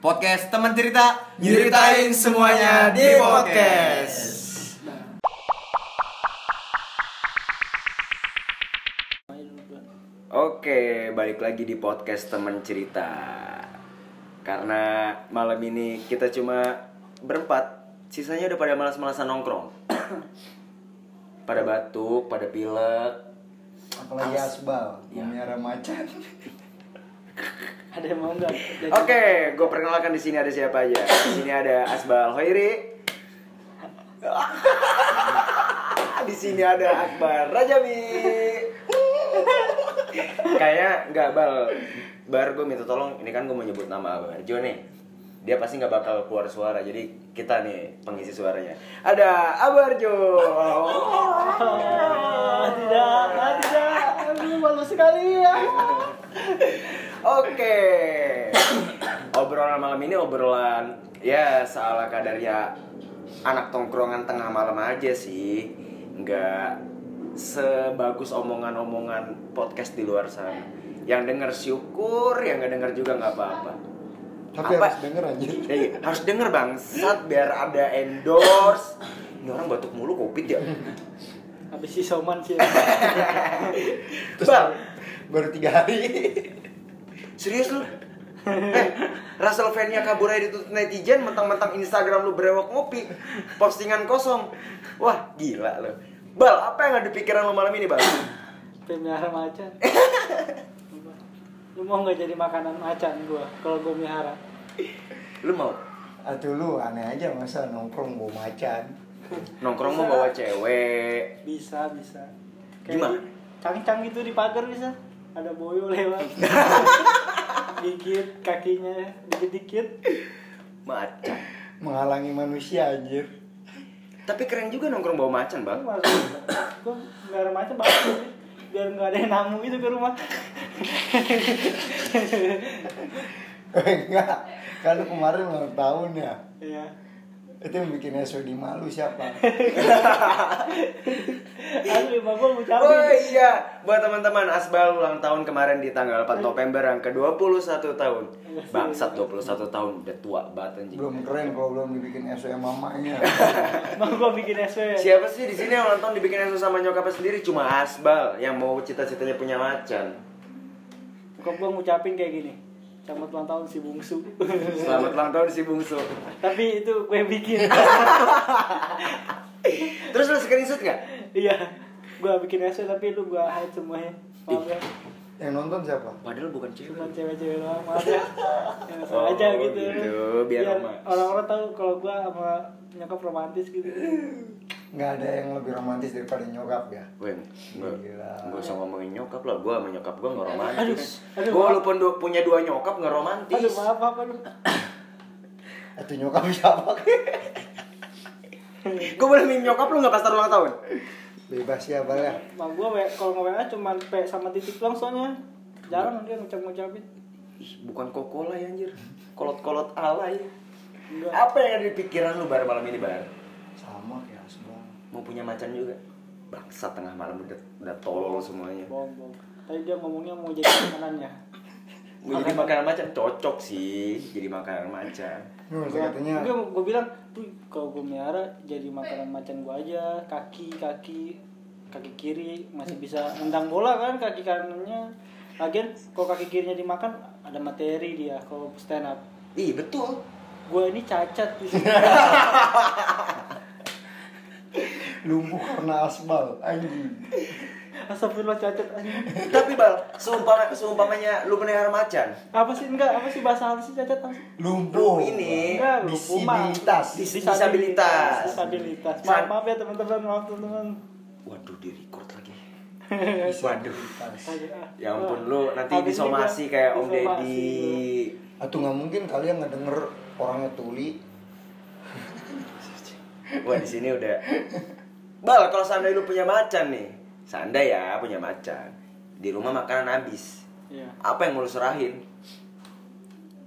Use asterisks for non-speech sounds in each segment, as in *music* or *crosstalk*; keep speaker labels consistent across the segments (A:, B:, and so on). A: Podcast teman cerita
B: Nyeritain semuanya di podcast.
A: Oke, balik lagi di podcast teman cerita. Karena malam ini kita cuma berempat, sisanya udah pada malas-malasan nongkrong. pada batuk, pada pilek.
B: Apalagi Asbal,
A: Iya.
B: memelihara macan.
C: ada yang mau nggak
A: Oke,
C: Jadi-
A: gue perkenalkan di sini ada siapa aja. Di sini ada Asbal Hoiri. *laughs* di sini ada Akbar Rajabi. Kayaknya nggak bal. Bar gue minta tolong, ini kan gue mau nyebut nama Bar Jo nih. Dia pasti nggak bakal keluar suara, jadi kita nih pengisi suaranya. Ada Abar Jo.
C: Ah, *laughs* tidak ah, tidak aduh malu sekali ya
A: Oke. Obrolan malam ini obrolan ya seala kadarnya anak tongkrongan tengah malam aja sih. Nggak sebagus omongan-omongan podcast di luar sana. Yang denger syukur, yang nggak denger juga nggak apa-apa.
B: Tapi
A: Apa?
B: harus denger anjir.
A: Eh, harus denger bangsat biar ada endorse. Ini orang batuk mulu covid ya.
C: habis si soman sih
A: Bang,
B: *laughs* Baru tiga hari. *laughs*
A: Serius lu? Eh, Russell fan-nya kabur aja ditutup netizen, mentang-mentang Instagram lu berewok ngopi, postingan kosong. Wah, gila lu. Bal, apa yang ada di pikiran lu malam ini, Bal?
C: pemelihara macan lu mau nggak jadi makanan macan gua kalau gua melihara
A: Lu mau
B: Atuh lu aneh aja masa nongkrong bawa macan.
A: nongkrong mau bawa cewek.
C: bisa bisa
A: Gimana?
C: di- cang-cang gitu di pagar bisa ada boyo lewat gigit kakinya dikit-dikit
A: Macan.
B: Menghalangi manusia anjir. *laughs*
A: Tapi keren juga nongkrong bawa macan, Bang.
C: Gua malu. gua melihara macan bagus sih biar nggak ada yang namu gitu ke rumah
B: Enggak, kan lu kemarin ulang tahun ya.
C: iya
B: Itu yang bikin SOD malu siapa?
C: Asli, mah gua ngucapin
A: Oh iya, buat teman-teman Asbal ulang tahun kemarin di tanggal 4 November yang ke-21 tahun. Bangsat 21 tahun udah tua banget anjing.
B: Belum keren kalau belum dibikin SOD mamanya.
C: Emang gua bikin SW
A: Siapa sih di sini yang nonton dibikin Enzo sama nyokapnya sendiri cuma Asbal yang mau cita-citanya punya macan.
C: Kok gua ngucapin kayak gini Selamat ulang tahun si bungsu
A: Selamat ulang tahun si bungsu.
C: Tapi itu gue *laughs* bikin
A: Terus lu screenshot nggak?
C: Iya Gua bikin SW tapi lu gua hide semuanya Maaf ya
B: Yang nonton siapa?
A: Padahal bukan
C: Cuma
A: cewek.
C: cewek-cewek doang Maaf ya Yang
A: Oh,
C: sengaja gitu
A: gitu. Biar romantis.
C: orang-orang tahu kalau gua sama nyokap romantis *laughs* gitu
B: Nggak ada yang lebih romantis daripada nyokap ya.
A: Wen,
B: Gila.
A: gue usah ngomongin nyokap lah, gue sama nyokap gue nggak romantis.
C: Aduh, aduh,
A: Gue
C: maaf.
A: walaupun du- punya dua nyokap nggak romantis.
C: Aduh maaf apa lu
B: Itu nyokap *laughs* siapa?
A: Gue boleh minum nyokap lu nggak pas ulang tahun?
B: Bebas ya, Bal ya.
C: Mak gua W- kalau nge WA cuma P sama titik doang soalnya Jarang dia ngucap-ngucapin
A: Ih, bukan kokolay anjir, kolot-kolot alay.
C: Enggak
A: Apa yang ada di pikiran lu bar malam ini bar?
B: Sama kayak Asbang.
A: Mau punya macan juga? Bangsat tengah malam udah, udah tolol semuanya.
C: bohong bohong Tadi dia ngomongnya mau jadi makanannya
A: Mau jadi makanan macan cocok sih jadi makanan macan.
B: Hmm, katanya
C: gue gue bilang tuh kalau gue melihara jadi makanan macan gue aja kaki kaki kaki kiri masih bisa nendang bola kan kaki kanannya lagian kalau kaki kirinya dimakan ada materi dia kalau stand up
A: Ih betul.
C: gue ini cacat gitu." di sini.
B: lumpuh karena asbal anjing.
C: *laughs* astagfirullah cacat anjing.
A: Tapi bal, seumpama seumpamanya lu pelihara macan,
C: apa sih enggak apa sih bahasa halus sih cacat apa sih?
B: Lumpuh.
A: Ini
C: enggak lu puma
B: Disabilitas.
A: Disabilitas.
C: disabilitas maaf, maaf ya teman-teman maaf teman-teman
A: waduh di record lagi. Waduh. Ya ampun
C: lo
A: lu nanti disomasi kayak Om Deddy.
B: Atau nggak mungkin kalian ngedenger orangnya tuli.
A: Wah di sini udah. Bal kalau seandainya lu punya macan nih, seandainya ya punya macan, di rumah makanan habis,
C: iya
A: apa yang mau lu serahin?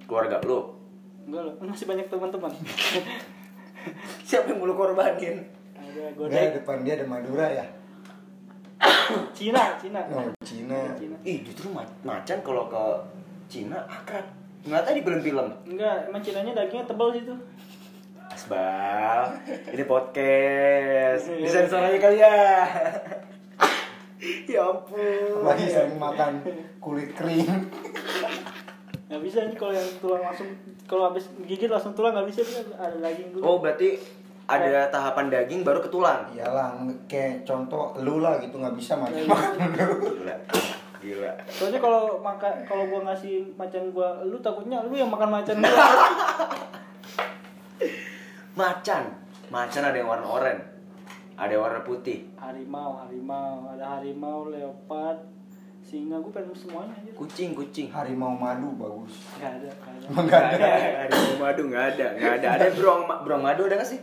A: Keluarga lu? *laughs*
C: enggak lo masih banyak teman-teman
A: Siapa yang mau lu korbanin?
C: ada
B: Nggak,
C: godek
B: depan dia ada Madura ya.
C: Cina Cina
B: Oh, Cina.
C: Cina. Iya.
A: Ih justru ma- macan kalau ke Cina akrab Ngeliatnya di film-film.
C: Enggak, emang cinanya dagingnya tebal sih tuh.
A: Asbal, ini podcast. Disensor aja kali ya. ya ampun.
B: Apalagi sering makan kulit kering.
C: Nggak bisa nih kalau yang tulang langsung kalau habis gigit langsung tulang nggak bisa dia ada daging dulu.
A: Oh, berarti ada tahapan daging baru ke tulang.
B: Iyalah, kayak contoh lu lah gitu nggak bisa makan makan lu.
A: Gila. Gila.
C: Soalnya kalau makan kalau gua ngasih macan gua lu takutnya lu yang makan macan gua.
A: Macan. Macan ada yang warna oranye. Ada yang warna putih.
C: harimau, harimau, ada harimau, leopard, singa, gua pengen semuanya aja.
A: Kucing, kucing.
B: Harimau madu bagus.
C: Enggak ada, nggak ada.
B: Emang
A: Gak
B: nggak ada.
A: ada. Harimau madu nggak ada. Nggak ada. Ada beruang ma- beruang madu ada nggak sih?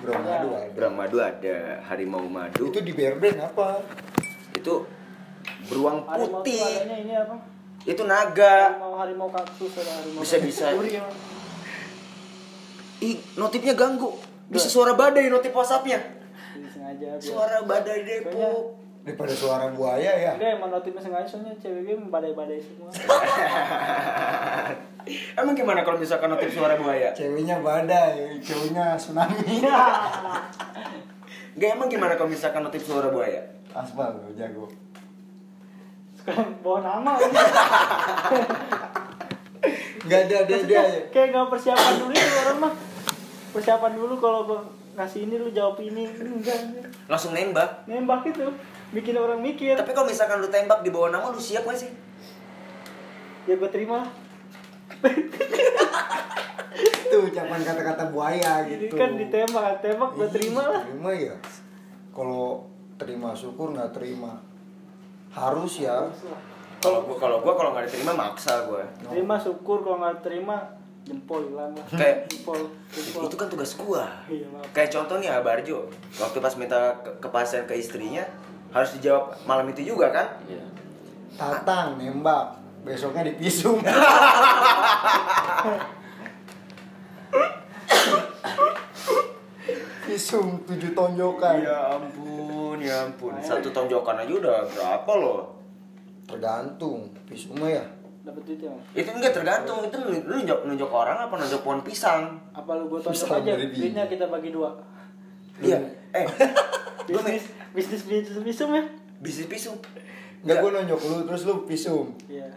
B: Bro madu ada.
A: Beruang madu ada. Harimau madu.
B: Itu di Berben apa?
A: Itu beruang
C: Harimau tuh
A: putih.
C: adanya ini apa?
A: Itu naga.
C: Harimau, harimau kaktus ada harimau.
A: Bisa-bisa.
C: kaktus. Uri
B: ya.
C: emang.
A: Ih, notifnya ganggu. Bisa suara badai notif WhatsAppnya.
C: Jadi sengaja. biar-
A: Suara badai Depok.
B: Daripada suara buaya ya.
C: Enggak emang notifnya sengaja soalnya cewek gue membadai-badai semua.
A: Emang gimana kalau misalkan notif suara
B: *laughs*
A: buaya?
B: Ceweknya badai, cowoknya tsunami.
A: Iya. Gak emang gimana kalau misalkan notif suara buaya?
B: Asbal lo jago.
C: Sekarang bawa nama.
B: Gak ada ada ada.
C: Maksudnya kayak nggak persiapan dulu ya orang mah. Persiapan dulu kalau gue ngasih ini lu jawab ini. Ini Enggak. enggak.
A: Langsung nembak.
C: Nembak itu bikin orang mikir.
A: Tapi kalau misalkan lu tembak di bawah nama lu siap gak sih?
C: Ya gue terima lah.
B: Itu ucapan kata-kata buaya
C: Ini
B: gitu. Iya.
C: kan ditembak, tembak gue terima lah.
B: Terima ya. Kalau terima syukur nggak terima. Harus ya.
A: Kalau gua kalau gua kalau nggak diterima maksa gua.
C: Terima syukur kalau nggak terima jempol hilang lah.
A: Kayak-
C: jempol, jempol.
A: Itu kan tugas gua.
C: Iya, maaf.
A: Kayak contoh nih Abarjo, waktu pas minta ke- kepastian ke istrinya harus dijawab malam itu juga kan?
B: Tatang nembak. Besoknya *laughs* dipisum. Pisum tujuh tonjokan.
C: Iya.
A: Ya ampun, ya ampun. Satu tonjokan aja udah berapa loh?
B: Tergantung pisumnya ya.
C: Dapat duit ya. Mas?
A: Itu enggak tergantung, itu nun- lu nunjuk, nunjuk orang apa nunjuk pohon pisang?
C: Apa lu gue tonjok
B: Bisa
C: aja?
B: beli biji.
C: Duitnya kita bagi dua.
A: Iya. Eh, gua mi-
C: Bisnis, bisnis bisnis visum ya.
A: bisnis pisum.
B: Enggak gue nonjok lu terus lu pisum.
C: Iya.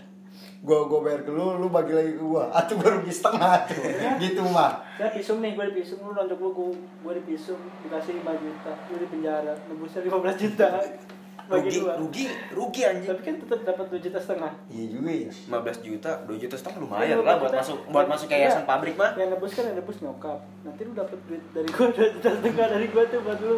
B: Gue gue bayar ke lu, lu bagi lagi ke gue. Atau baru di setengah tuh.
C: Iya.
B: gitu mah.
C: Saya pisum nih, gue dipisum, lu nonjok lu, gue, gue dipisum, dikasih 5 juta, lu di penjara, nebusnya 15 juta, bagi
A: rugi,
C: dua.
A: rugi, rugi anjing.
C: Tapi kan tetap dapat 2 juta setengah.
B: Iya juga ya.
A: 15 juta, 2 juta setengah
C: Jadi
A: lumayan
C: lu
A: lah
C: dapat
A: buat
C: duitnya-
A: masuk buat masuk ke yayasan
C: Iya.
A: pabrik mah.
C: Yang nebus kan yang nebus nyokap. Nanti lu dapat duit dari *laughs* gue 2 juta setengah dari gue tuh buat lu.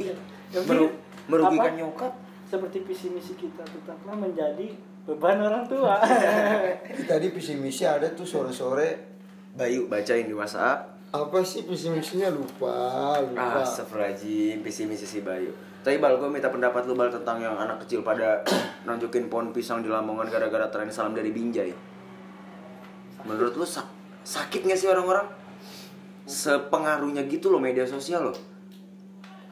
A: Ih,
C: Yang
A: meru-
C: penting,
A: merugikan
C: apa?
A: nyokap.
C: Seperti visi misi kita tetaplah menjadi beban orang tua.
A: *laughs*
B: Ini Tadi visi misi ada tuh sore-sore.
A: Bayu bacain di WhatsApp.
B: Apa sih visi misinya lupa,
A: Ah,
B: lupa.
A: astagfirullahaladzim, visi misi si Bayu. Tapi Bal, gue minta pendapat lu Bal tentang yang anak kecil pada *clears throat* nunjukin pohon pisang di Lamongan gara-gara tren salam dari Binjai. Menurut lu sak- sakit gak sih orang-orang? Sepengaruhnya gitu loh media sosial loh.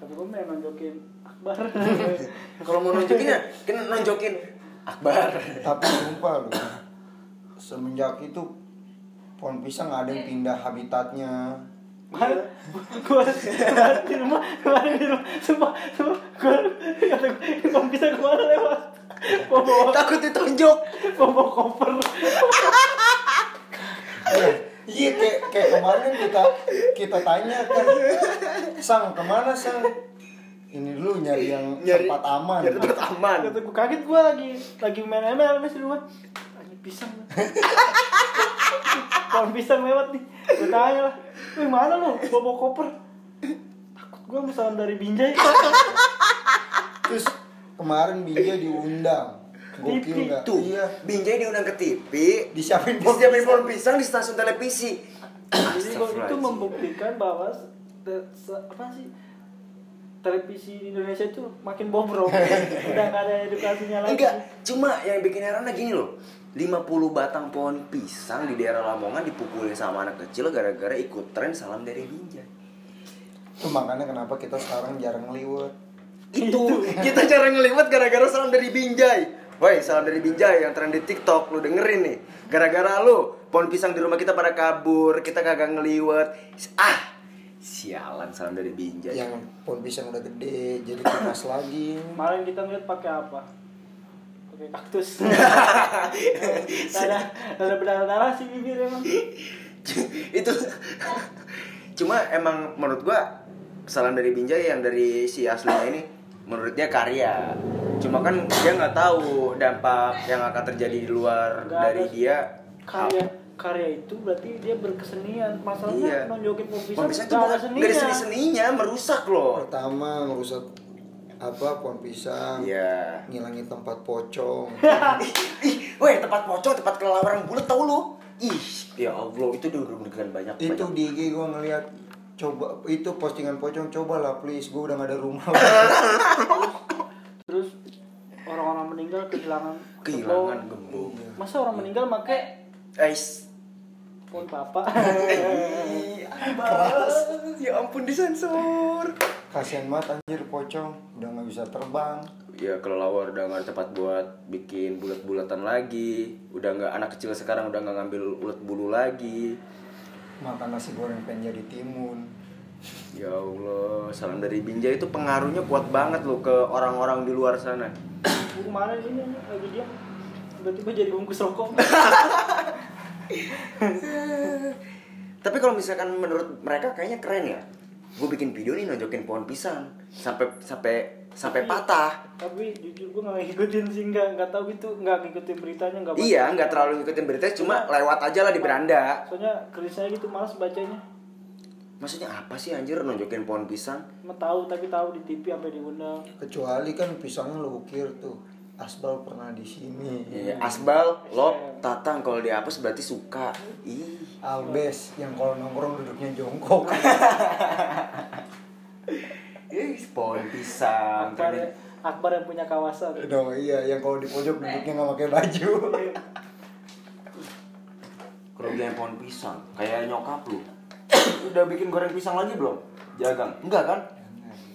C: Tapi gue main nonjokin Akbar.
A: *laughs* Kalau mau nunjukin ya, kena nunjukin Akbar.
B: Tapi lupa lu. Semenjak itu pohon pisang ada yang pindah habitatnya.
C: Kemarin gua- kemarin di rumah, kemarin di rumah, sumpah, sumpah, gue kata gue, "Bang, bisa kemana lewat? Mau bawa,
A: *laughs* Takut ditunjuk.
C: mau bawa koper.
B: Iya, Iya kayak, kayak kemarin kita kita tanya kan, sang kemana sang? Ini dulu nyari yang
A: Nyari-
B: tempat aman.
A: Biar tetap aman.
C: Kata gue kaget gue lagi, lagi main ML mas di rumah. Tanya pisang. *laughs* Pohon pisang lewat nih, gue tanya lah, wih mana lu? Bawa bawa koper. Takut gue sama salam dari Binjai. *laughs*
B: Terus kemarin Bija diundang. Gokil nggak?
A: Tuh,
B: Iya.
A: Binjai diundang ke TV,
B: Disiapin pohon
A: disiapin pohon pisang di stasiun televisi.
C: Jadi gitu gua itu membuktikan bahwa te- se- apa sih televisi di Indonesia itu makin
A: *laughs*
C: bobrok, udah nggak ada edukasinya lagi.
A: Enggak, cuma yang bikin herannya gini loh. 50 batang pohon pisang di daerah Lamongan dipukulin sama anak kecil gara-gara ikut tren salam dari Binjai.
B: Tuh makanya kenapa kita sekarang jarang liwat.
A: Itu kita jarang ngeliwat gara-gara salam dari Binjai. Woi, salam dari Binjai yang tren di TikTok lu dengerin nih. Gara-gara lu pohon pisang di rumah kita pada kabur kita kagak ngeliwet ah sialan salam dari Binjai
B: yang pohon pisang udah gede jadi kemas lagi
C: Kemarin kita ngeliat pakai apa? Pakai
A: *laughs*
C: kaktus. ada ada berdarah-darah sih bibir emang.
A: *laughs* itu cuma emang menurut gua kesalahan dari Binjai yang dari si aslinya ini menurut dia karya cuma kan dia nggak tahu dampak yang akan terjadi di luar
C: Nggak
A: dari
C: ada.
A: dia
C: Karya karya itu berarti dia berkesenian. Masalahnya
A: Iya.
C: nonjokin mau
A: Pohon
C: pisang
A: pisang itu
C: nggak ada
A: bukan nggak ada seni seninya merusak loh
B: pertama merusak apa pohon pisang
A: iya
B: ngilangin tempat
A: *laughs*
B: pocong
A: ih weh tempat pocong tempat kelelawar yang bulat tau lu ih ya allah itu udah deg banyak
B: itu
A: banyak.
B: di IG gue ngeliat coba itu postingan pocong coba lah please gue udah gak ada rumah
A: *laughs*
C: Terus orang-orang meninggal kehilangan
A: kehilangan Iya.
C: tepung.
A: gembung
C: Masa orang meninggal pakai
A: guys
C: pohon kelapa?
A: *laughs* ya ampun disensor
B: kasihan banget anjir pocong udah gak bisa terbang
A: ya kelelawar udah nggak ada tempat buat bikin bulat-bulatan lagi udah nggak anak kecil sekarang udah nggak ngambil ulat bulu lagi
B: makan nasi goreng pengen jadi timun
A: ya allah salam dari Binjai itu pengaruhnya kuat banget loh ke orang-orang di luar sana
C: Gua kemarin ini nih, lagi dia tiba-tiba jadi bungkus rokok.
A: tapi kalau misalkan menurut mereka kayaknya keren ya gue bikin video nih nonjokin pohon pisang sampai sampai sampai patah
C: Tapi jujur gue nggak ngikutin sih nggak nggak tahu itu nggak ngikutin beritanya nggak. baca.
A: iya nggak terlalu ngikutin berita cuma lewat aja lah di beranda
C: Soalnya kerisnya gitu malas bacanya.
A: maksudnya apa sih anjir nonjokin pohon pisang
C: Cuma tahu tapi tahu di TV sampai diundang.
B: kecuali kan pisangnya lo ukir tuh asbal pernah di sini
A: Iya, asbal, lop, tatang kalau dihapus berarti suka. Ih.
B: albes yang kalau nongkrong duduknya jongkok *laughs*
A: Ih, Eh, pohon pisang.
C: Akbar, Akbar yang punya kawasan.
B: dong iya yang kalau di pojok duduknya nggak pakai baju
A: *laughs* Kerugian pohon pisang, kayak nyokap lu. Udah bikin goreng pisang lagi belum? Jagang. Enggak kan?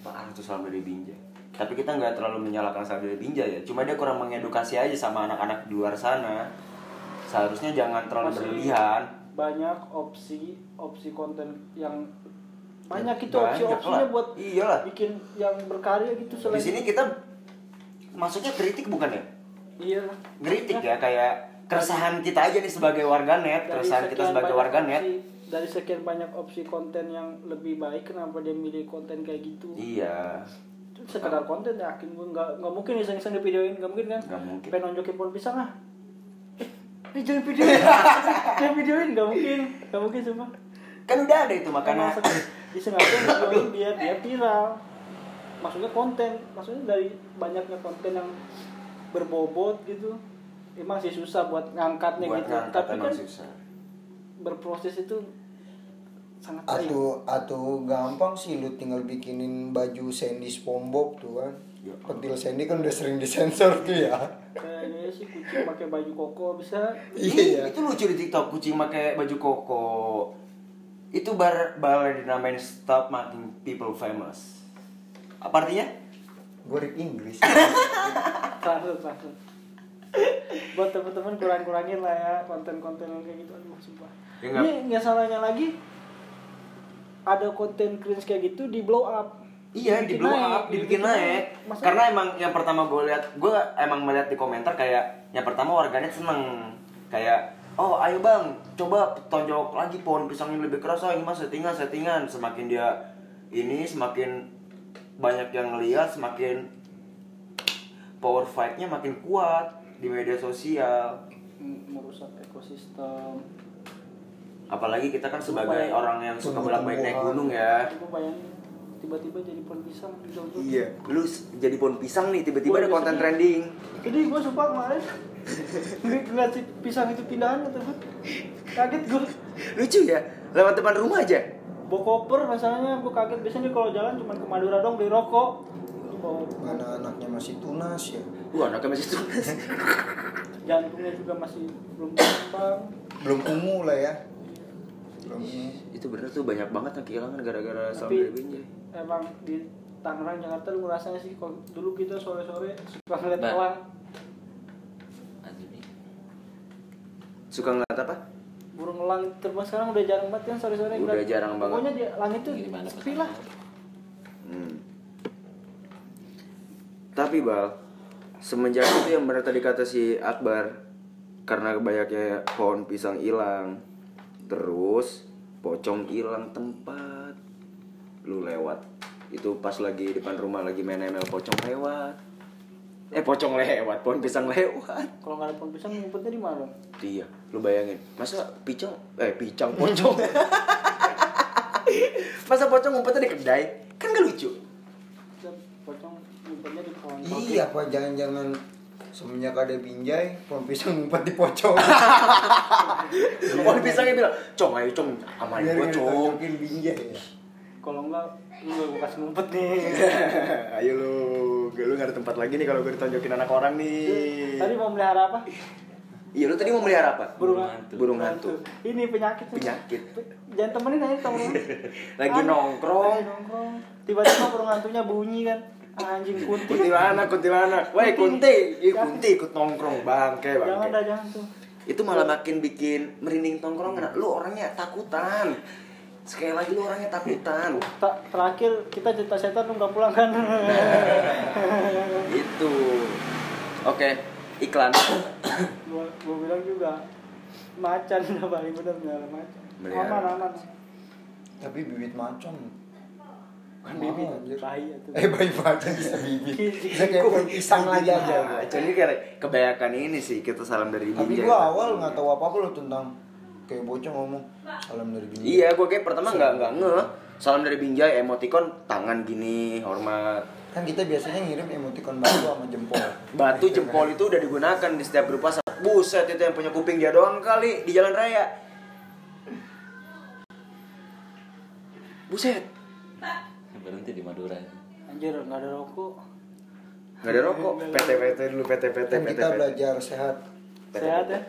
A: Parah tuh salam dari Binjai. Tapi kita nggak terlalu menyalahkan salam dari Binjai ya. Cuma dia kurang mengedukasi aja sama anak-anak di luar sana. Seharusnya jangan terlalu
C: Masih
A: berlebihan.
C: Banyak opsi opsi konten yang banyak itu
A: Banyak
C: opsi-opsinya
A: lah.
C: buat
A: Iyalah.
C: bikin yang berkarya gitu
A: Di
C: selain
A: sini kita maksudnya kritik bukan ya?
C: iya
A: ngeritik ya kayak keresahan kita aja nih sebagai warganet keresahan kita
C: sekian
A: sebagai
C: banyak
A: warganet
C: opsi- dari sekian banyak opsi konten yang lebih baik kenapa dia milih konten kayak gitu
A: iya
C: Itu sekedar konten ya, yakin gue nggak nggak mungkin iseng-iseng di videoin nggak mungkin kan
A: Nggak mungkin.
C: pengen nonjokin pohon pisang ah Eh, eh, jangan videoin *laughs* jangan videoin nggak mungkin nggak mungkin sumpah
A: kan udah ada itu makanya
C: Emang se- disengaja videoin biar dia viral maksudnya konten maksudnya dari banyaknya konten yang berbobot gitu emang sih susah buat ngangkatnya
A: buat
C: gitu
A: ngangkat
C: tapi
A: emang
C: kan
A: susah
C: berproses itu sangat baik
B: atau atau gampang sih lu tinggal bikinin baju Sandy SpongeBob tuh kan
A: Ya.
B: pentil Sandy kan udah sering disensor tuh ya
C: kayaknya sih kucing pakai baju koko bisa
A: Ih,
B: iya
A: itu lucu di tiktok kucing pakai baju koko itu bar bar dinamain stop making people famous apa artinya
B: goreng Inggris
C: Translate, translate. Buat teman-teman kurang-kurangin lah ya konten-konten yang kayak gitu. Aduh, sumpah.
A: Ya, nggak-
C: Ini nggak salahnya lagi ada konten cringe kayak gitu di blow up.
A: Iya, di
C: Dibikin
A: blow
C: naik,
A: up, dibikin naik.
C: Maksudnya-
A: Karena emang yang pertama gue lihat, gue emang melihat di komentar kayak yang pertama warganet seneng kayak oh ayo bang coba tonjok lagi pohon pisang yang lebih keras oh ini mah settingan settingan semakin dia ini semakin banyak yang ngeliat semakin power fight-nya makin kuat di media sosial
C: M- merusak ekosistem.
A: apalagi kita kan sebagai
C: Lumayan.
A: orang yang suka bolak balik naik
B: Tumbuh-tumbuhan.
A: gunung ya
C: Coba bayangin tiba-tiba jadi pohon pisang di download.
A: lu s- jadi pohon pisang ya? nih tiba-tiba ada konten trending
C: Jadi gue sumpah kemarin ngeliat- ngeliat si pisang itu pindahan kata gue. Kaget gue.
A: lucu ya lewat depan rumah aja
C: bawa koper masalahnya gue kaget biasanya dia kalau jalan cuma ke Madura dong beli rokok Ini bawa
B: mana anaknya masih tunas ya
A: Wah, anaknya masih tunas.
C: jantungnya juga masih belum berkembang
B: belum ungu lah ya belum ungu.
A: *laughs* itu bener tuh banyak banget yang kehilangan gara-gara
C: tapi
A: sambil binjai.
C: emang di Tangerang Jakarta lu ngerasanya sih kalau dulu kita sore-sore suka ngeliat
A: Ba-
C: elang
A: Suka ngeliat apa?
C: burung elang itu terbang sekarang udah jarang banget kan sore-sore
A: Udah
C: kelihatan.
A: jarang banget.
C: pokoknya di langit tuh
D: Gimana
C: sepi
D: pertama?
C: lah
A: Hmm. Tapi Bal, semenjak itu yang benar tadi kata si Akbar karena banyaknya pohon pisang hilang. Terus pocong hilang tempat. Lu lewat. Itu pas lagi depan rumah lagi main ML pocong lewat. Eh pocong lewat, pohon pisang lewat.
C: kalau nggak ada pohon pisang ngumpetnya di mana dong?
A: Iya, lu bayangin. Masa picong eh picang pocong. Masa pocong ngumpetnya di kedai? Kan gak lucu.
C: Bisa pocong ngumpetnya di pohon
B: Iya apa jangan-jangan semenjak ada binjai pohon pisang ngumpet di pocong.
C: Iya.
A: Pohon pisangnya Oh, bilang, "Cong, ayo cong, aman
B: Biar
A: gua
B: nggak
A: cong."
B: ditunjukin binjai.
C: kalau nggak lu gue kasih ngumpet nih Iya.
A: ayo lu, gue lu gak ada tempat lagi nih kalau gue ditonjokin anak orang nih.
C: Iya, tadi mau melihara apa
A: Iya, lu tadi mau melihara apa?
C: burung
D: hantu.
A: Burung hantu.
C: ini penyakit
A: Penyakit.
C: jangan temenin aja temenin
A: *laughs* Lagi
C: Aneh.
A: nongkrong.
C: Lagi nongkrong tiba-tiba burung hantunya bunyi kan anjing kunti
A: Kuntilanak, kuntilanak. Woi, kunti, Ih, kunti ikut nongkrong bangke,
C: jangan dah
A: bangke.
C: jangan tuh
A: Itu malah makin bikin merinding tongkrongan. Nah, Lu orangnya takutan. Sekali lagi lu orangnya takutan.
C: Ta- terakhir kita cerita setan lu nggak pulang
A: *laughs*
C: kan
A: Itu. Gitu. Oke, iklan.
C: gua, gua bilang juga macan udah paling bener melihara macan
A: Melihara.
C: aman aman
B: Tapi bibit macan.
C: kan
B: Mahal,
C: bibit
B: anjir.
C: bahaya ya tuh
B: Eh bayi macan bisa bibit. Bisa kayak pohon pisang lagi aja.
A: iya, Jadi kayak kebanyakan ini sih kita salam dari
B: Tapi
C: Iya,
A: Binjai.
B: gua awal nggak tahu apa-apa loh tentang kayak bocah ngomong salam dari binjai.
A: Iya, gua kayak pertama nggak nggak nge. Salam dari Binjai, emoticon tangan gini, hormat.
B: Kan kita biasanya ngirim emoticon batu sama jempol.
C: Iya.
B: *laughs*
A: Batu jempol itu udah digunakan di setiap grup WhatsApp. Buset itu yang punya kuping dia doang kali di jalan raya. Buset,
D: berhenti di Madura
C: anjir nggak ada rokok
A: nggak ada
B: *laughs*
A: rokok. PT PT dulu PT PT
C: Iya,
B: Kan
A: PT.
B: kita belajar sehat.
C: sehat ya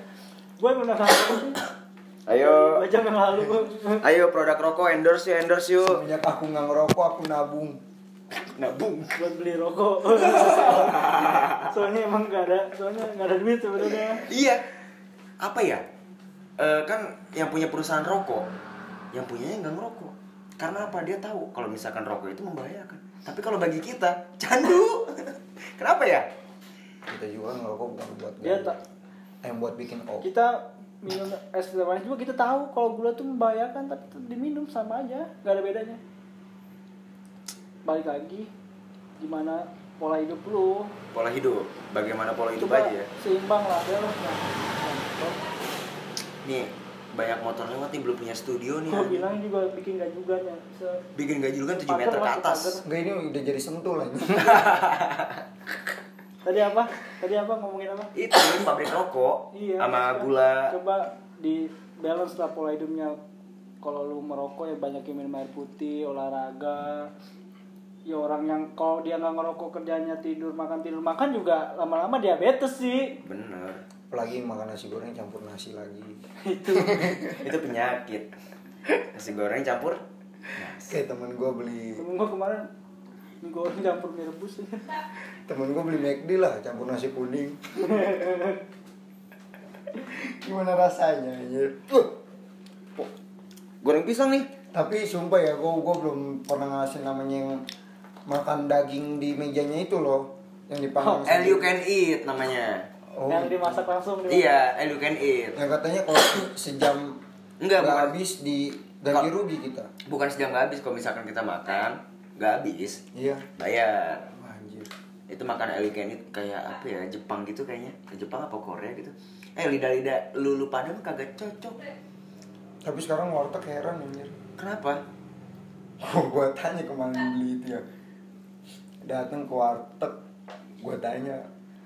C: gue pernah sih
A: Ayo,
C: dua jam yang lalu gua.
A: ayo produk rokok endorse yuk, endorse yuk.
B: Semenjak aku nggak ngerokok aku nabung.
A: Nah, bung.
C: buat beli rokok
A: *laughs*
C: soalnya emang nggak ada soalnya nggak ada duit sebenarnya
A: Iya. Apa ya? Eh, kan yang punya perusahaan rokok, yang punyanya nggak ngerokok. Karena apa? Dia tahu kalau misalkan rokok itu membahayakan. Tapi kalau bagi kita, *laughs* candu. Kenapa ya?
B: Kita juga ngerokok bukan buat
C: Iya,
B: gaya.
C: tak.
B: Eh buat bikin op.
C: kita minum es teh manis juga kita tahu kalau gula tuh membahayakan tapi tetap diminum sama aja nggak ada bedanya balik lagi gimana pola hidup lu
A: Pola hidup. Bagaimana pola hidup
C: coba
A: aja ya?
C: seimbang lah ya lah nah,
A: Nih, banyak motor lewat nih belum punya studio nih.
C: gua bilang juga bikin gak juga ya Se-
A: Bikin gaji lu kan 7
C: Pagar
A: meter ke
C: masuk
A: atas.
C: pagar.
B: Enggak ini udah jadi sentul aja.
C: tadi apa tadi apa ngomongin apa
A: Itu pabrik rokok
C: iya
A: sama
C: coba-
A: gula.
C: coba di balance lah pola hidupnya kalau lu merokok ya banyakin minum air putih olahraga ya orang yang kalau dia nggak ngerokok kerjanya tidur makan tidur makan juga lama-lama diabetes sih
A: Bener.
B: *laughs* Apalagi makan nasi goreng campur nasi lagi.
A: Itu penyakit. Nasi goreng campur.
B: Kayak temen gue beli
C: temen gua kemarin mie goreng campur mie rebus
B: temen gue beli McD lah campur nasi kuning *laughs* gimana rasanya anjir Uh,
A: Goreng pisang nih.
B: tapi sumpah ya gue gue belum pernah ngasih namanya yang makan daging di mejanya itu loh yang dipanggang
A: L
B: sendiri.
A: you can eat namanya.
B: Oh,
C: yang dimasak langsung di-
A: Iya, L you can eat.
B: yang katanya kalau *coughs* sejam
A: Enggak,
B: nggak
A: bukan.
B: habis di ganti rugi kita
A: Bukan sejam nggak habis kalau misalkan kita makan nggak habis
B: iya
A: bayar.
B: Wah, anjir
A: Itu makan L you can eat kayak apa ya Jepang gitu kayaknya. Jepang apa Korea gitu. Eh lidah-lidah lulu pada mah kagak cocok.
B: tapi sekarang warteg heran anjir *laughs*
A: Kenapa?
B: gue tanya kemarin beli itu ya datang ke warteg gue tanya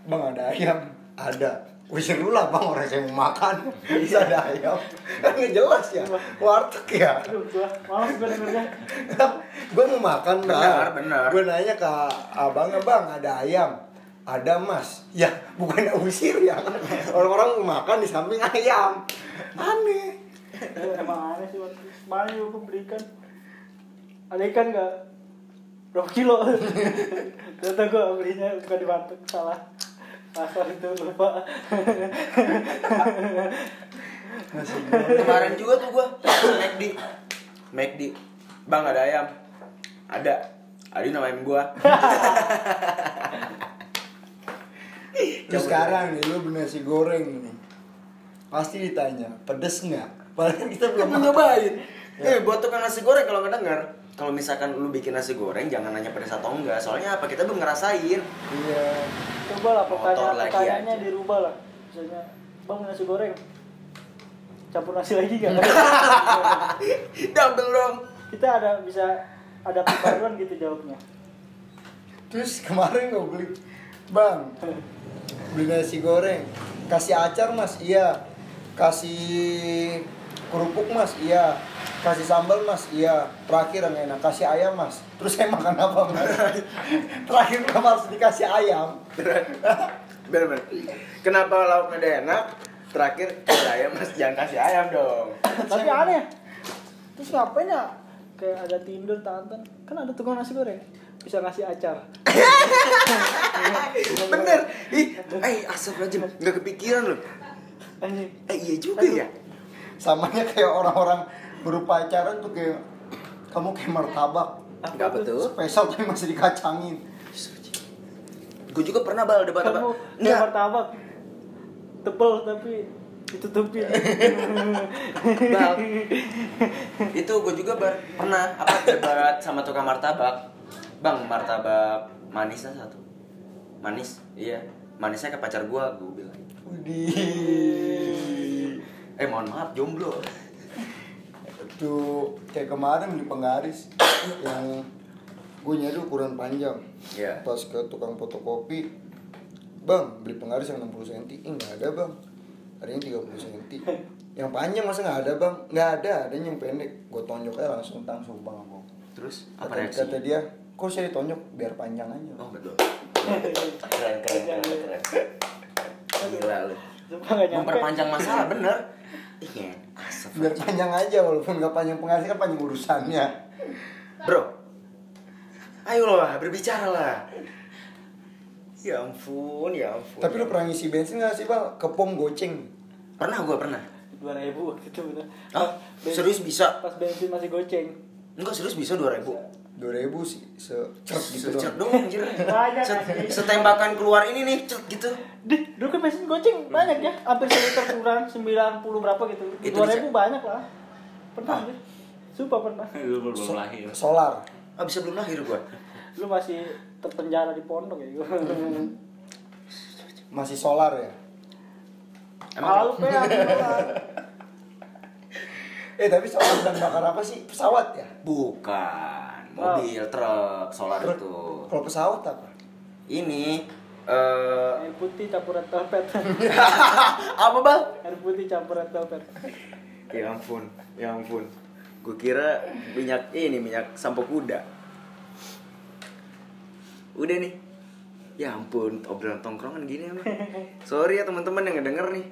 B: bang ada ayam ada Wih seru lah bang orang saya mau makan *laughs* bisa ada ayam kan nggak jelas ya
A: Iya.
B: warteg ya
C: aduh gua malas gua dengernya
B: *laughs* gue mau makan
A: Benar,
B: bang
A: benar.
B: gue nanya ke abangnya bang ada ayam ada mas ya bukan usir ya *laughs* orang-orang mau makan di samping ayam aneh
C: emang aneh sih waktu itu. kemarin juga gua beli ikan ada ikan nggak berapa
A: *laughs*
C: kilo ternyata gua belinya bukan di warteg salah pasar itu lupa
B: *laughs* Nasi goreng.
A: Kemarin juga tuh gua McD. McD. Bang ada ayam. Ada. Ada nama ayam gua.
B: Terus sekarang nih lu beli nasi goreng nih. Pasti ditanya, pedes nggak? Padahal kita belum
A: Belum nyobain. Eh,
B: Ya.
A: buat tukang nasi goreng kalau ngedenger, kalau misalkan lu bikin nasi goreng jangan nanya pedes atau enggak. Soalnya apa? Kita belum ngerasain.
B: Iya.
C: coba lah
A: Motor
C: pertanyaan
A: lagi
C: pertanyaannya
A: aja.
C: dirubah lah misalnya bang mau nasi goreng campur nasi lagi
A: *laughs*
C: gak
A: Double dong.
C: kita ada bisa ada pembaruan gitu jawabnya
B: Terus kemarin gue beli, bang, beli nasi goreng, kasih acar mas, iya, kasih kerupuk mas, iya, kasih sambal mas, iya, terakhir yang enak, kasih ayam mas. Terus saya makan apa mas? terakhir kamu harus dikasih ayam.
A: Bener bener. Kenapa lauknya udah enak? Terakhir saya mas jangan kasih ayam dong.
C: tapi aneh terus ngapain ya kayak ada tinder tantan kan ada tukang nasi goreng bisa ngasih acar
A: Bener. Ih, eh asap aja nggak kepikiran loh.
C: anjing
A: Eh iya juga ya.
B: Samanya kayak orang-orang berupa acara tuh kayak kamu kayak martabak,
C: Apa
A: Nggak
C: tuh?
A: betul.
B: spesial tapi masih dikacangin.
A: Gue juga pernah bal debat apa?
C: kamu kayak
A: Enggak.
C: martabak tebel tapi
A: *laughs*
C: ditutupin
A: Bal. Itu gue juga bar pernah apa debat sama tukang martabak. Bang martabak manisnya satu. Manis, iya. Manisnya ke pacar gue, gue bilang.
B: Widih.
A: Eh mohon maaf, jomblo.
B: Tuh kayak kemarin di penggaris yang gue nyari ukuran panjang.
A: Iya.
B: Pas ke tukang fotokopi, bang beli penggaris yang 60 cm, Ih, nggak ada bang. Ada yang 30 cm. Yang panjang masa nggak ada bang? Nggak ada, ada yang pendek. Gue tonjok aja langsung tang sumpah sama gua.
A: Terus apa
B: Kata,
A: reaksi?
B: kata dia, kok saya ditonjok biar panjang aja.
A: Oh betul. Keren keren keren keren. Gila lu.
C: Sumpah nggak nyampe.
A: Memperpanjang masalah bener. Iya. Asap.
B: Biar panjang aja walaupun nggak panjang penggaris kan panjang urusannya.
A: Bro, ayo lah berbicara lah. Ya ampun, ya ampun.
B: Tapi lu pernah ngisi bensin nggak sih bang? Ke pom goceng.
A: pernah gue pernah.
C: dua ribu waktu itu bener
A: Hah?
C: Bensin-
A: Oh, Serius bisa?
C: pas bensin masih goceng
A: Enggak serius bisa 2000
B: dua ribu sih se cerk gitu
A: Secet dong
B: doang.
A: anjir
C: *laughs* Banyak,
A: Set-
C: anjir.
A: Setembakan keluar ini nih cet gitu
C: Dih, dulu kan bensin goceng banyak ya hampir sekitar kurang 90 berapa gitu
A: Itu
C: dua ribu
A: bisa-
C: banyak lah pernah deh sumpah pernah
D: Lu belum belum lahir.
B: Solar.
A: Ah bisa belum lahir gue
C: lu masih terpenjara di pondok ya
A: *laughs*
B: Masih solar ya.
C: malu ya
A: *laughs*
B: Eh tapi solar dan bakar apa sih? Pesawat ya?
A: Bukan Mobil, truk, solar
B: Truk.
A: itu
B: Kalau pesawat apa?
A: Ini eh
C: air putih campuran telpet *laughs*
A: Apa bang?
C: air putih campuran telpet
A: Ya ampun, ya ampun. Gue kira minyak ini minyak sampo kuda. Udah nih. Ya ampun, obrolan tongkrongan gini emang. Sorry ya teman-teman yang ngedenger nih.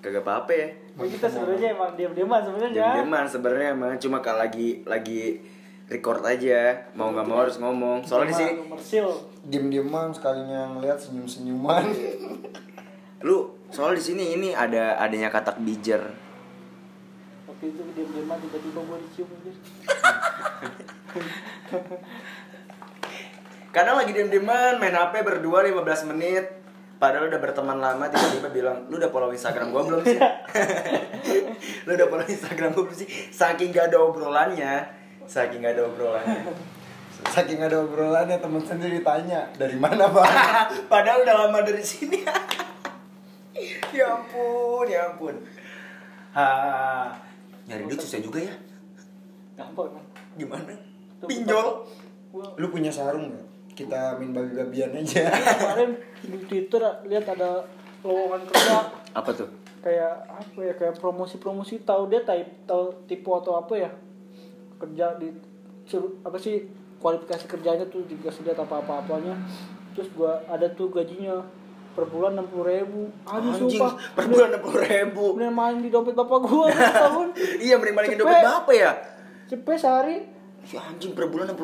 A: Kagak apa-apa ya.
C: Wah, kita gitu sebenarnya emang diam-diaman sebenarnya
A: Diam-diaman sebenarnya emang cuma kalau lagi lagi record aja, mau nggak mau harus ngomong. Soalnya di sini
C: Cuma komersil
B: Diem-dieman sekalinya ngeliat senyum-senyuman.
A: lu soal di sini ini ada adanya katak bijer.
C: waktu itu diam-diaman tiba-tiba gua dicium anjir
A: Kadang lagi diem-dieman main HP berdua 15 menit Padahal udah berteman lama tiba-tiba bilang Lu udah follow Instagram gua belum sih? *laughs* Lu udah follow Instagram gua belum sih? Saking gak ada obrolannya Saking gak ada obrolannya
B: *laughs*
A: *laughs*
B: Saking ada obrolannya temen sendiri tanya dari mana bang? *laughs*
A: Padahal udah lama dari sini *laughs* Ya ampun, ya ampun ha, Nyari duit susah juga ya
C: gampang kan
A: Gimana? Pinjol
C: gua
B: Lu punya sarung nggak? Kita main babi-babian aja. *laughs*
C: kemarin di Twitter lihat ada lowongan kerja
A: Apa tuh?
C: kayak apa ya kayak promosi-promosi tahu dia type tahu tipe atau apa ya kerja di sur- apa sih kualifikasi kerjanya tuh dikasih lihat apa apa apanya terus gua ada tuh gajinya per bulan enam puluh ribu aduh
A: Anjing,
C: sumpah
A: per bulan 60 ribu *laughs*
C: bener main di dompet bapak gua setahun
A: Iya, mending malingin dompet
C: Cepet.
A: bapak ya?
C: cepet sehari
A: Ya anjing per bulan 60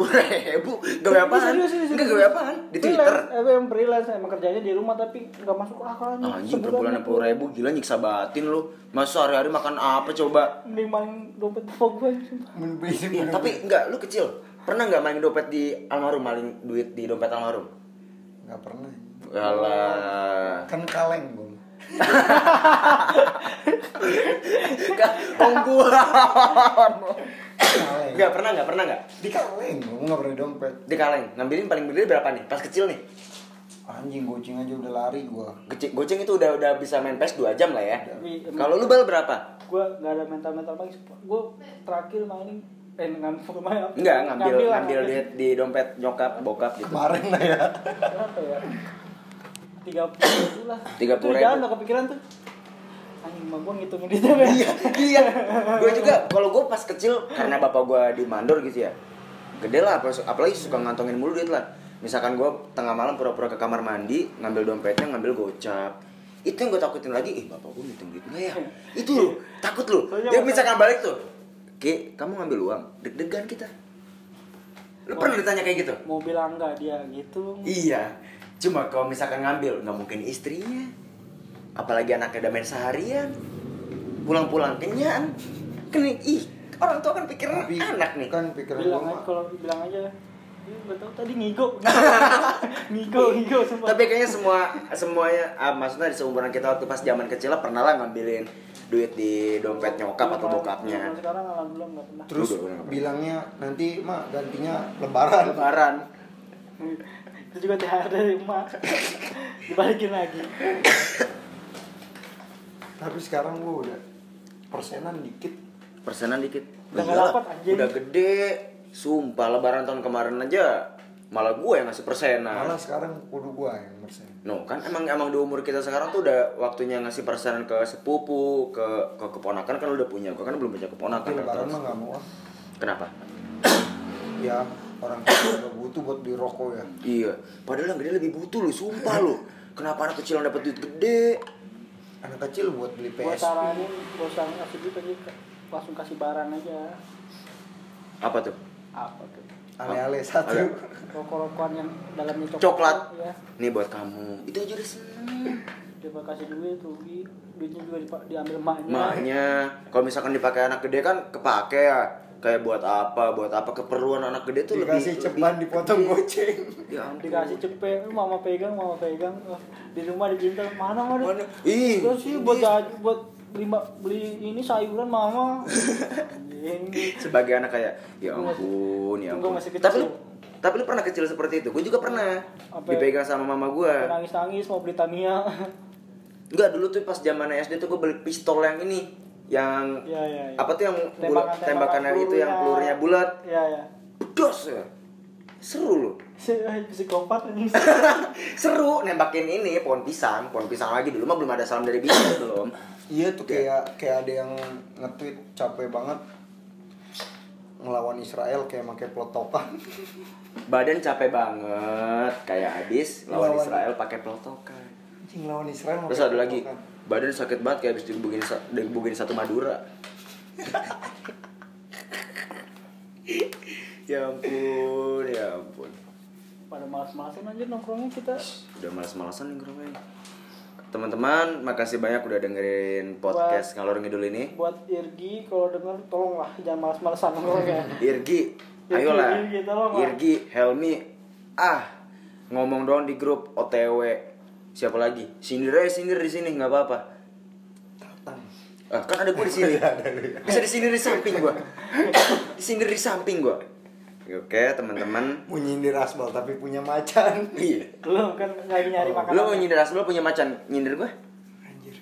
A: ribu Gawe apaan?
C: Serius, serius,
A: Enggak
C: serius.
A: gawe apaan? Di Twitter
C: Freelance, eh, emang freelance emang kerjanya di rumah tapi nggak masuk akal anjing.
A: Anjing per
C: Sebulan
A: bulan 60 ribu Gila nyiksa batin lu Masa hari-hari makan apa coba?
C: mending main dompet Pogba sumpah.
B: Menbeli
A: Iya, tapi enggak, lu kecil Pernah enggak maling dompet di almarhum? Maling duit di dompet almarhum?
B: nggak pernah.
A: Alah
C: *laughs*
B: Kan kaleng gue.
A: Kan, Penggulan
B: Kaleng.
A: *laughs* Enggak pernah, enggak pernah enggak?
B: Di kaleng gue nggak pernah di dompet.
A: Di kaleng, ngambilin paling gede berapa nih? Pas kecil nih
B: Anjing goceng aja udah lari gue.
A: Gece- Goceng itu udah udah bisa main PES 2 jam lah ya
C: Tapi emang-
A: Kalau lu bal berapa?
C: gue nggak ada mental mental lagi sumpah. gue terakhir maling eh ngambil main apa?
A: Enggak, ngambil ngambil,
C: lah,
A: duit di dompet nyokap, bokap gitu
B: Kemarin lah ya.
C: berapa ya tiga puluh lah
A: 30
C: Itu di jalan
A: ribu.
C: udah kepikiran tuh anjing mah gue ngitungin di TV iya
A: iya gue juga kalau gue pas kecil karena bapak gue di mandor gitu ya gede lah apalagi apalagi suka ngantongin mulu duit lah misalkan gue tengah malam pura-pura ke kamar mandi ngambil dompetnya ngambil gocap itu yang gue takutin lagi ih bapak gue ngitung duit nggak ya itu loh takut loh
C: Soalnya
A: dia
C: bapak-
A: misalkan balik tuh Ki, kamu ngambil uang deg-degan kita lu pernah ditanya kayak gitu
C: mau bilang enggak dia gitu
A: iya cuma kalau misalkan ngambil nggak mungkin istrinya apalagi anaknya udah main seharian pulang-pulang kenyang kena ih orang tua kan pikir
B: Tapi
A: anak nih
B: Kan pikiran
C: bilang
B: gue
C: aja kalau bilang aja "Ih, nggak tahu tadi ngigo *laughs* ngigo ngigo sumpah
A: tapi kayaknya semua semuanya ah, maksudnya di seumuran kita waktu pas zaman kecil lah pernah lah ngambilin duit di dompet nyokap atau
C: Cuman-
A: bokapnya
C: cuman sekarang alhamdulillah nggak pernah
B: Terus
A: Udah, udah, udah.
B: bilangnya nanti mak gantinya lebaran.
A: lebaran
C: itu juga THR dari emak *laughs* dibalikin lagi
B: Tapi sekarang gue udah persenan dikit.
A: persenan dikit
C: Udah
A: Oh,
C: nggak
A: iyalah,
C: dapat, anjing.
A: udah gede sumpah lebaran tahun kemarin aja malah gue yang ngasih persenan
B: Malah sekarang kudu gue yang persen.
A: No, kan emang emang di umur kita sekarang tuh udah waktunya ngasih persenan ke sepupu, ke ke keponakan kan lu udah punya. Gua kan belum punya keponakan.
B: Tapi
C: Iya,
B: lebaran mah
A: Terus-
B: nggak mau ah.
A: Kenapa?
B: Ya orang tua udah butuh buat beli rokok ya.
A: Iya, padahal yang gede lebih butuh lu, sumpah lu. Kenapa anak kecil yang dapat duit gede?
B: Anak kecil buat beli
C: gua
B: PS.
C: saranin gak usah ngasih duit aja langsung kasih barang aja
A: Apa tuh?
C: apa tuh
B: Ale-ale satu.
C: rokok-rokokan yang dalamnya coklat,
A: Coklat.
C: ya
A: Nih buat kamu. Itu aja udah seneng.
C: dia kasih duit rugi duitnya juga dipa- diambil emaknya
A: Maknya kalau misalkan dipakai anak gede kan kepake ya. Kayak buat apa, buat apa keperluan anak gede tuh lebih
B: Dikasih ceban dipotong goceng.
A: Ya ampun.
C: dikasih cepet "Lu mama pegang mama pegang Eh, di rumah dipinta mana mana
A: Mana? Ih,
C: terus sih buat
A: ini-
C: baju buat beli ma- beli ini sayuran
A: *laughs*
C: mama Anjing.
A: sebagai anak kayak ya ampun ya ampun
C: Tunggu masih kecil.
A: tapi lu tapi lu pernah kecil seperti itu gue juga pernah
C: Apa?
A: dipegang sama mama gue
C: nangis nangis mau beli Tamiya
A: enggak dulu tuh pas zaman SD tuh gue beli pistol yang ini yang
C: ya ya, ya.
A: apa tuh yang bulat tembakan
C: Tembakan-tembakan
A: yang itu yang pelurunya bulat
C: ya ya
A: pedos ya seru lu
C: Si- psikopat anjing
A: seru nembakin ini pohon pisang pohon pisang lagi dulu mah belum ada salam dari bintang belum
B: Iya tuh kayak kayak ada yang nge-tweet capek banget ngelawan Israel kayak pakai pelotokan.
A: badan capek banget kayak habis lawan
B: Lawan.
A: Israel pakai pelotokan
B: Anjing ngelawan Israel
A: terus
B: pakai
A: ada lagi
B: pelotokan.
A: badan sakit banget kayak habis digebukin sa- digebukin satu Madura *laughs* ya ampun ya ampun
C: pada malas-malasan anjir nongkrongnya kita
A: udah malas-malasan nih ngerokoknya. teman-teman makasih banyak udah dengerin podcast ngalor ngidul ini
C: buat Irgi kalau denger tolonglah jangan malas-malasan nongkrongnya
A: Irgi
C: Irgi,
A: ayolah
C: Irgi, tolong lah.
A: Irgi Helmi ah ngomong doang di grup OTW siapa lagi sindir aja sindir di sini nggak apa-apa
B: Tatang.
A: Ah, kan *laughs* ada gue di sini. Bisa di sini di samping gua. Di sini di samping gua. Oke, teman-teman.
B: Mau nyindir asbal tapi punya macan.
A: Iya.
C: belum kan lagi nyari makanan
A: Oh, Lu mau nyindir asbel punya macan, nyindir gua?
B: Anjir.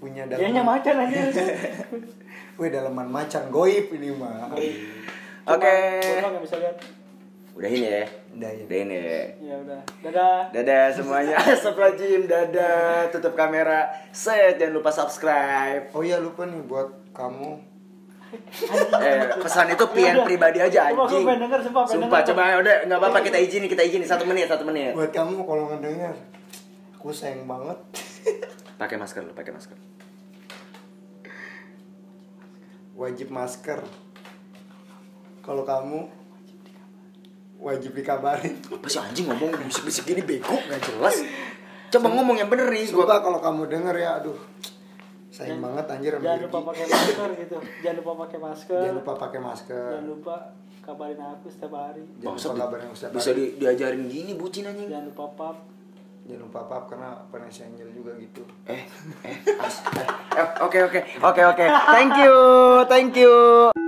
B: Punya
C: dia nya
B: dalaman.
C: macan anjir
B: Weh dalaman macan goib ini mah.
A: *laughs* Oke.
C: Gua nggak bisa lihat
A: Udahin ya.
B: Dayan.
A: Udahin ya.
C: ya udah dadah
A: Dadah semuanya. *laughs* Astagfirullahaladzim. Dadah. Tutup kamera. Set. Jangan lupa subscribe.
B: Oh iya lupa nih buat kamu
A: Eh, pesan itu pian pribadi aja
C: Ya Coba, Iya, gua
A: anjing.
C: pengen denger, sumpah, pengen
A: Sumpah,
C: denger.
A: coba udah nggak apa-apa kita izinin, kita izinin satu menit, satu menit.
B: buat kamu kalau ngedenger aku sayang banget
A: Pakai masker lu, pakai masker.
B: wajib masker kalau kamu wajib dikabarin
A: Apa sih anjing ngomong bisik-bisik gini bego nggak jelas. *laughs* Coba ngomong yang bener nih gua.
B: Sumpah kalau kamu denger ya aduh sayang banget anjir sama
C: jangan
B: Ricky.
C: lupa pakai masker gitu jangan lupa pakai masker
B: jangan lupa pakai masker
C: Jangan lupa kabarin aku setiap hari
B: jangan lupa
A: Bangsat,
B: kabar yang setiap
A: bisa
B: hari
A: di- diajarin gini bucin anjing.
C: jangan lupa pap
B: jangan lupa pap karena Vanessa Angel juga gitu
A: Eh, eh, as- eh, eh, oke oke oke oke. Thank you, thank you.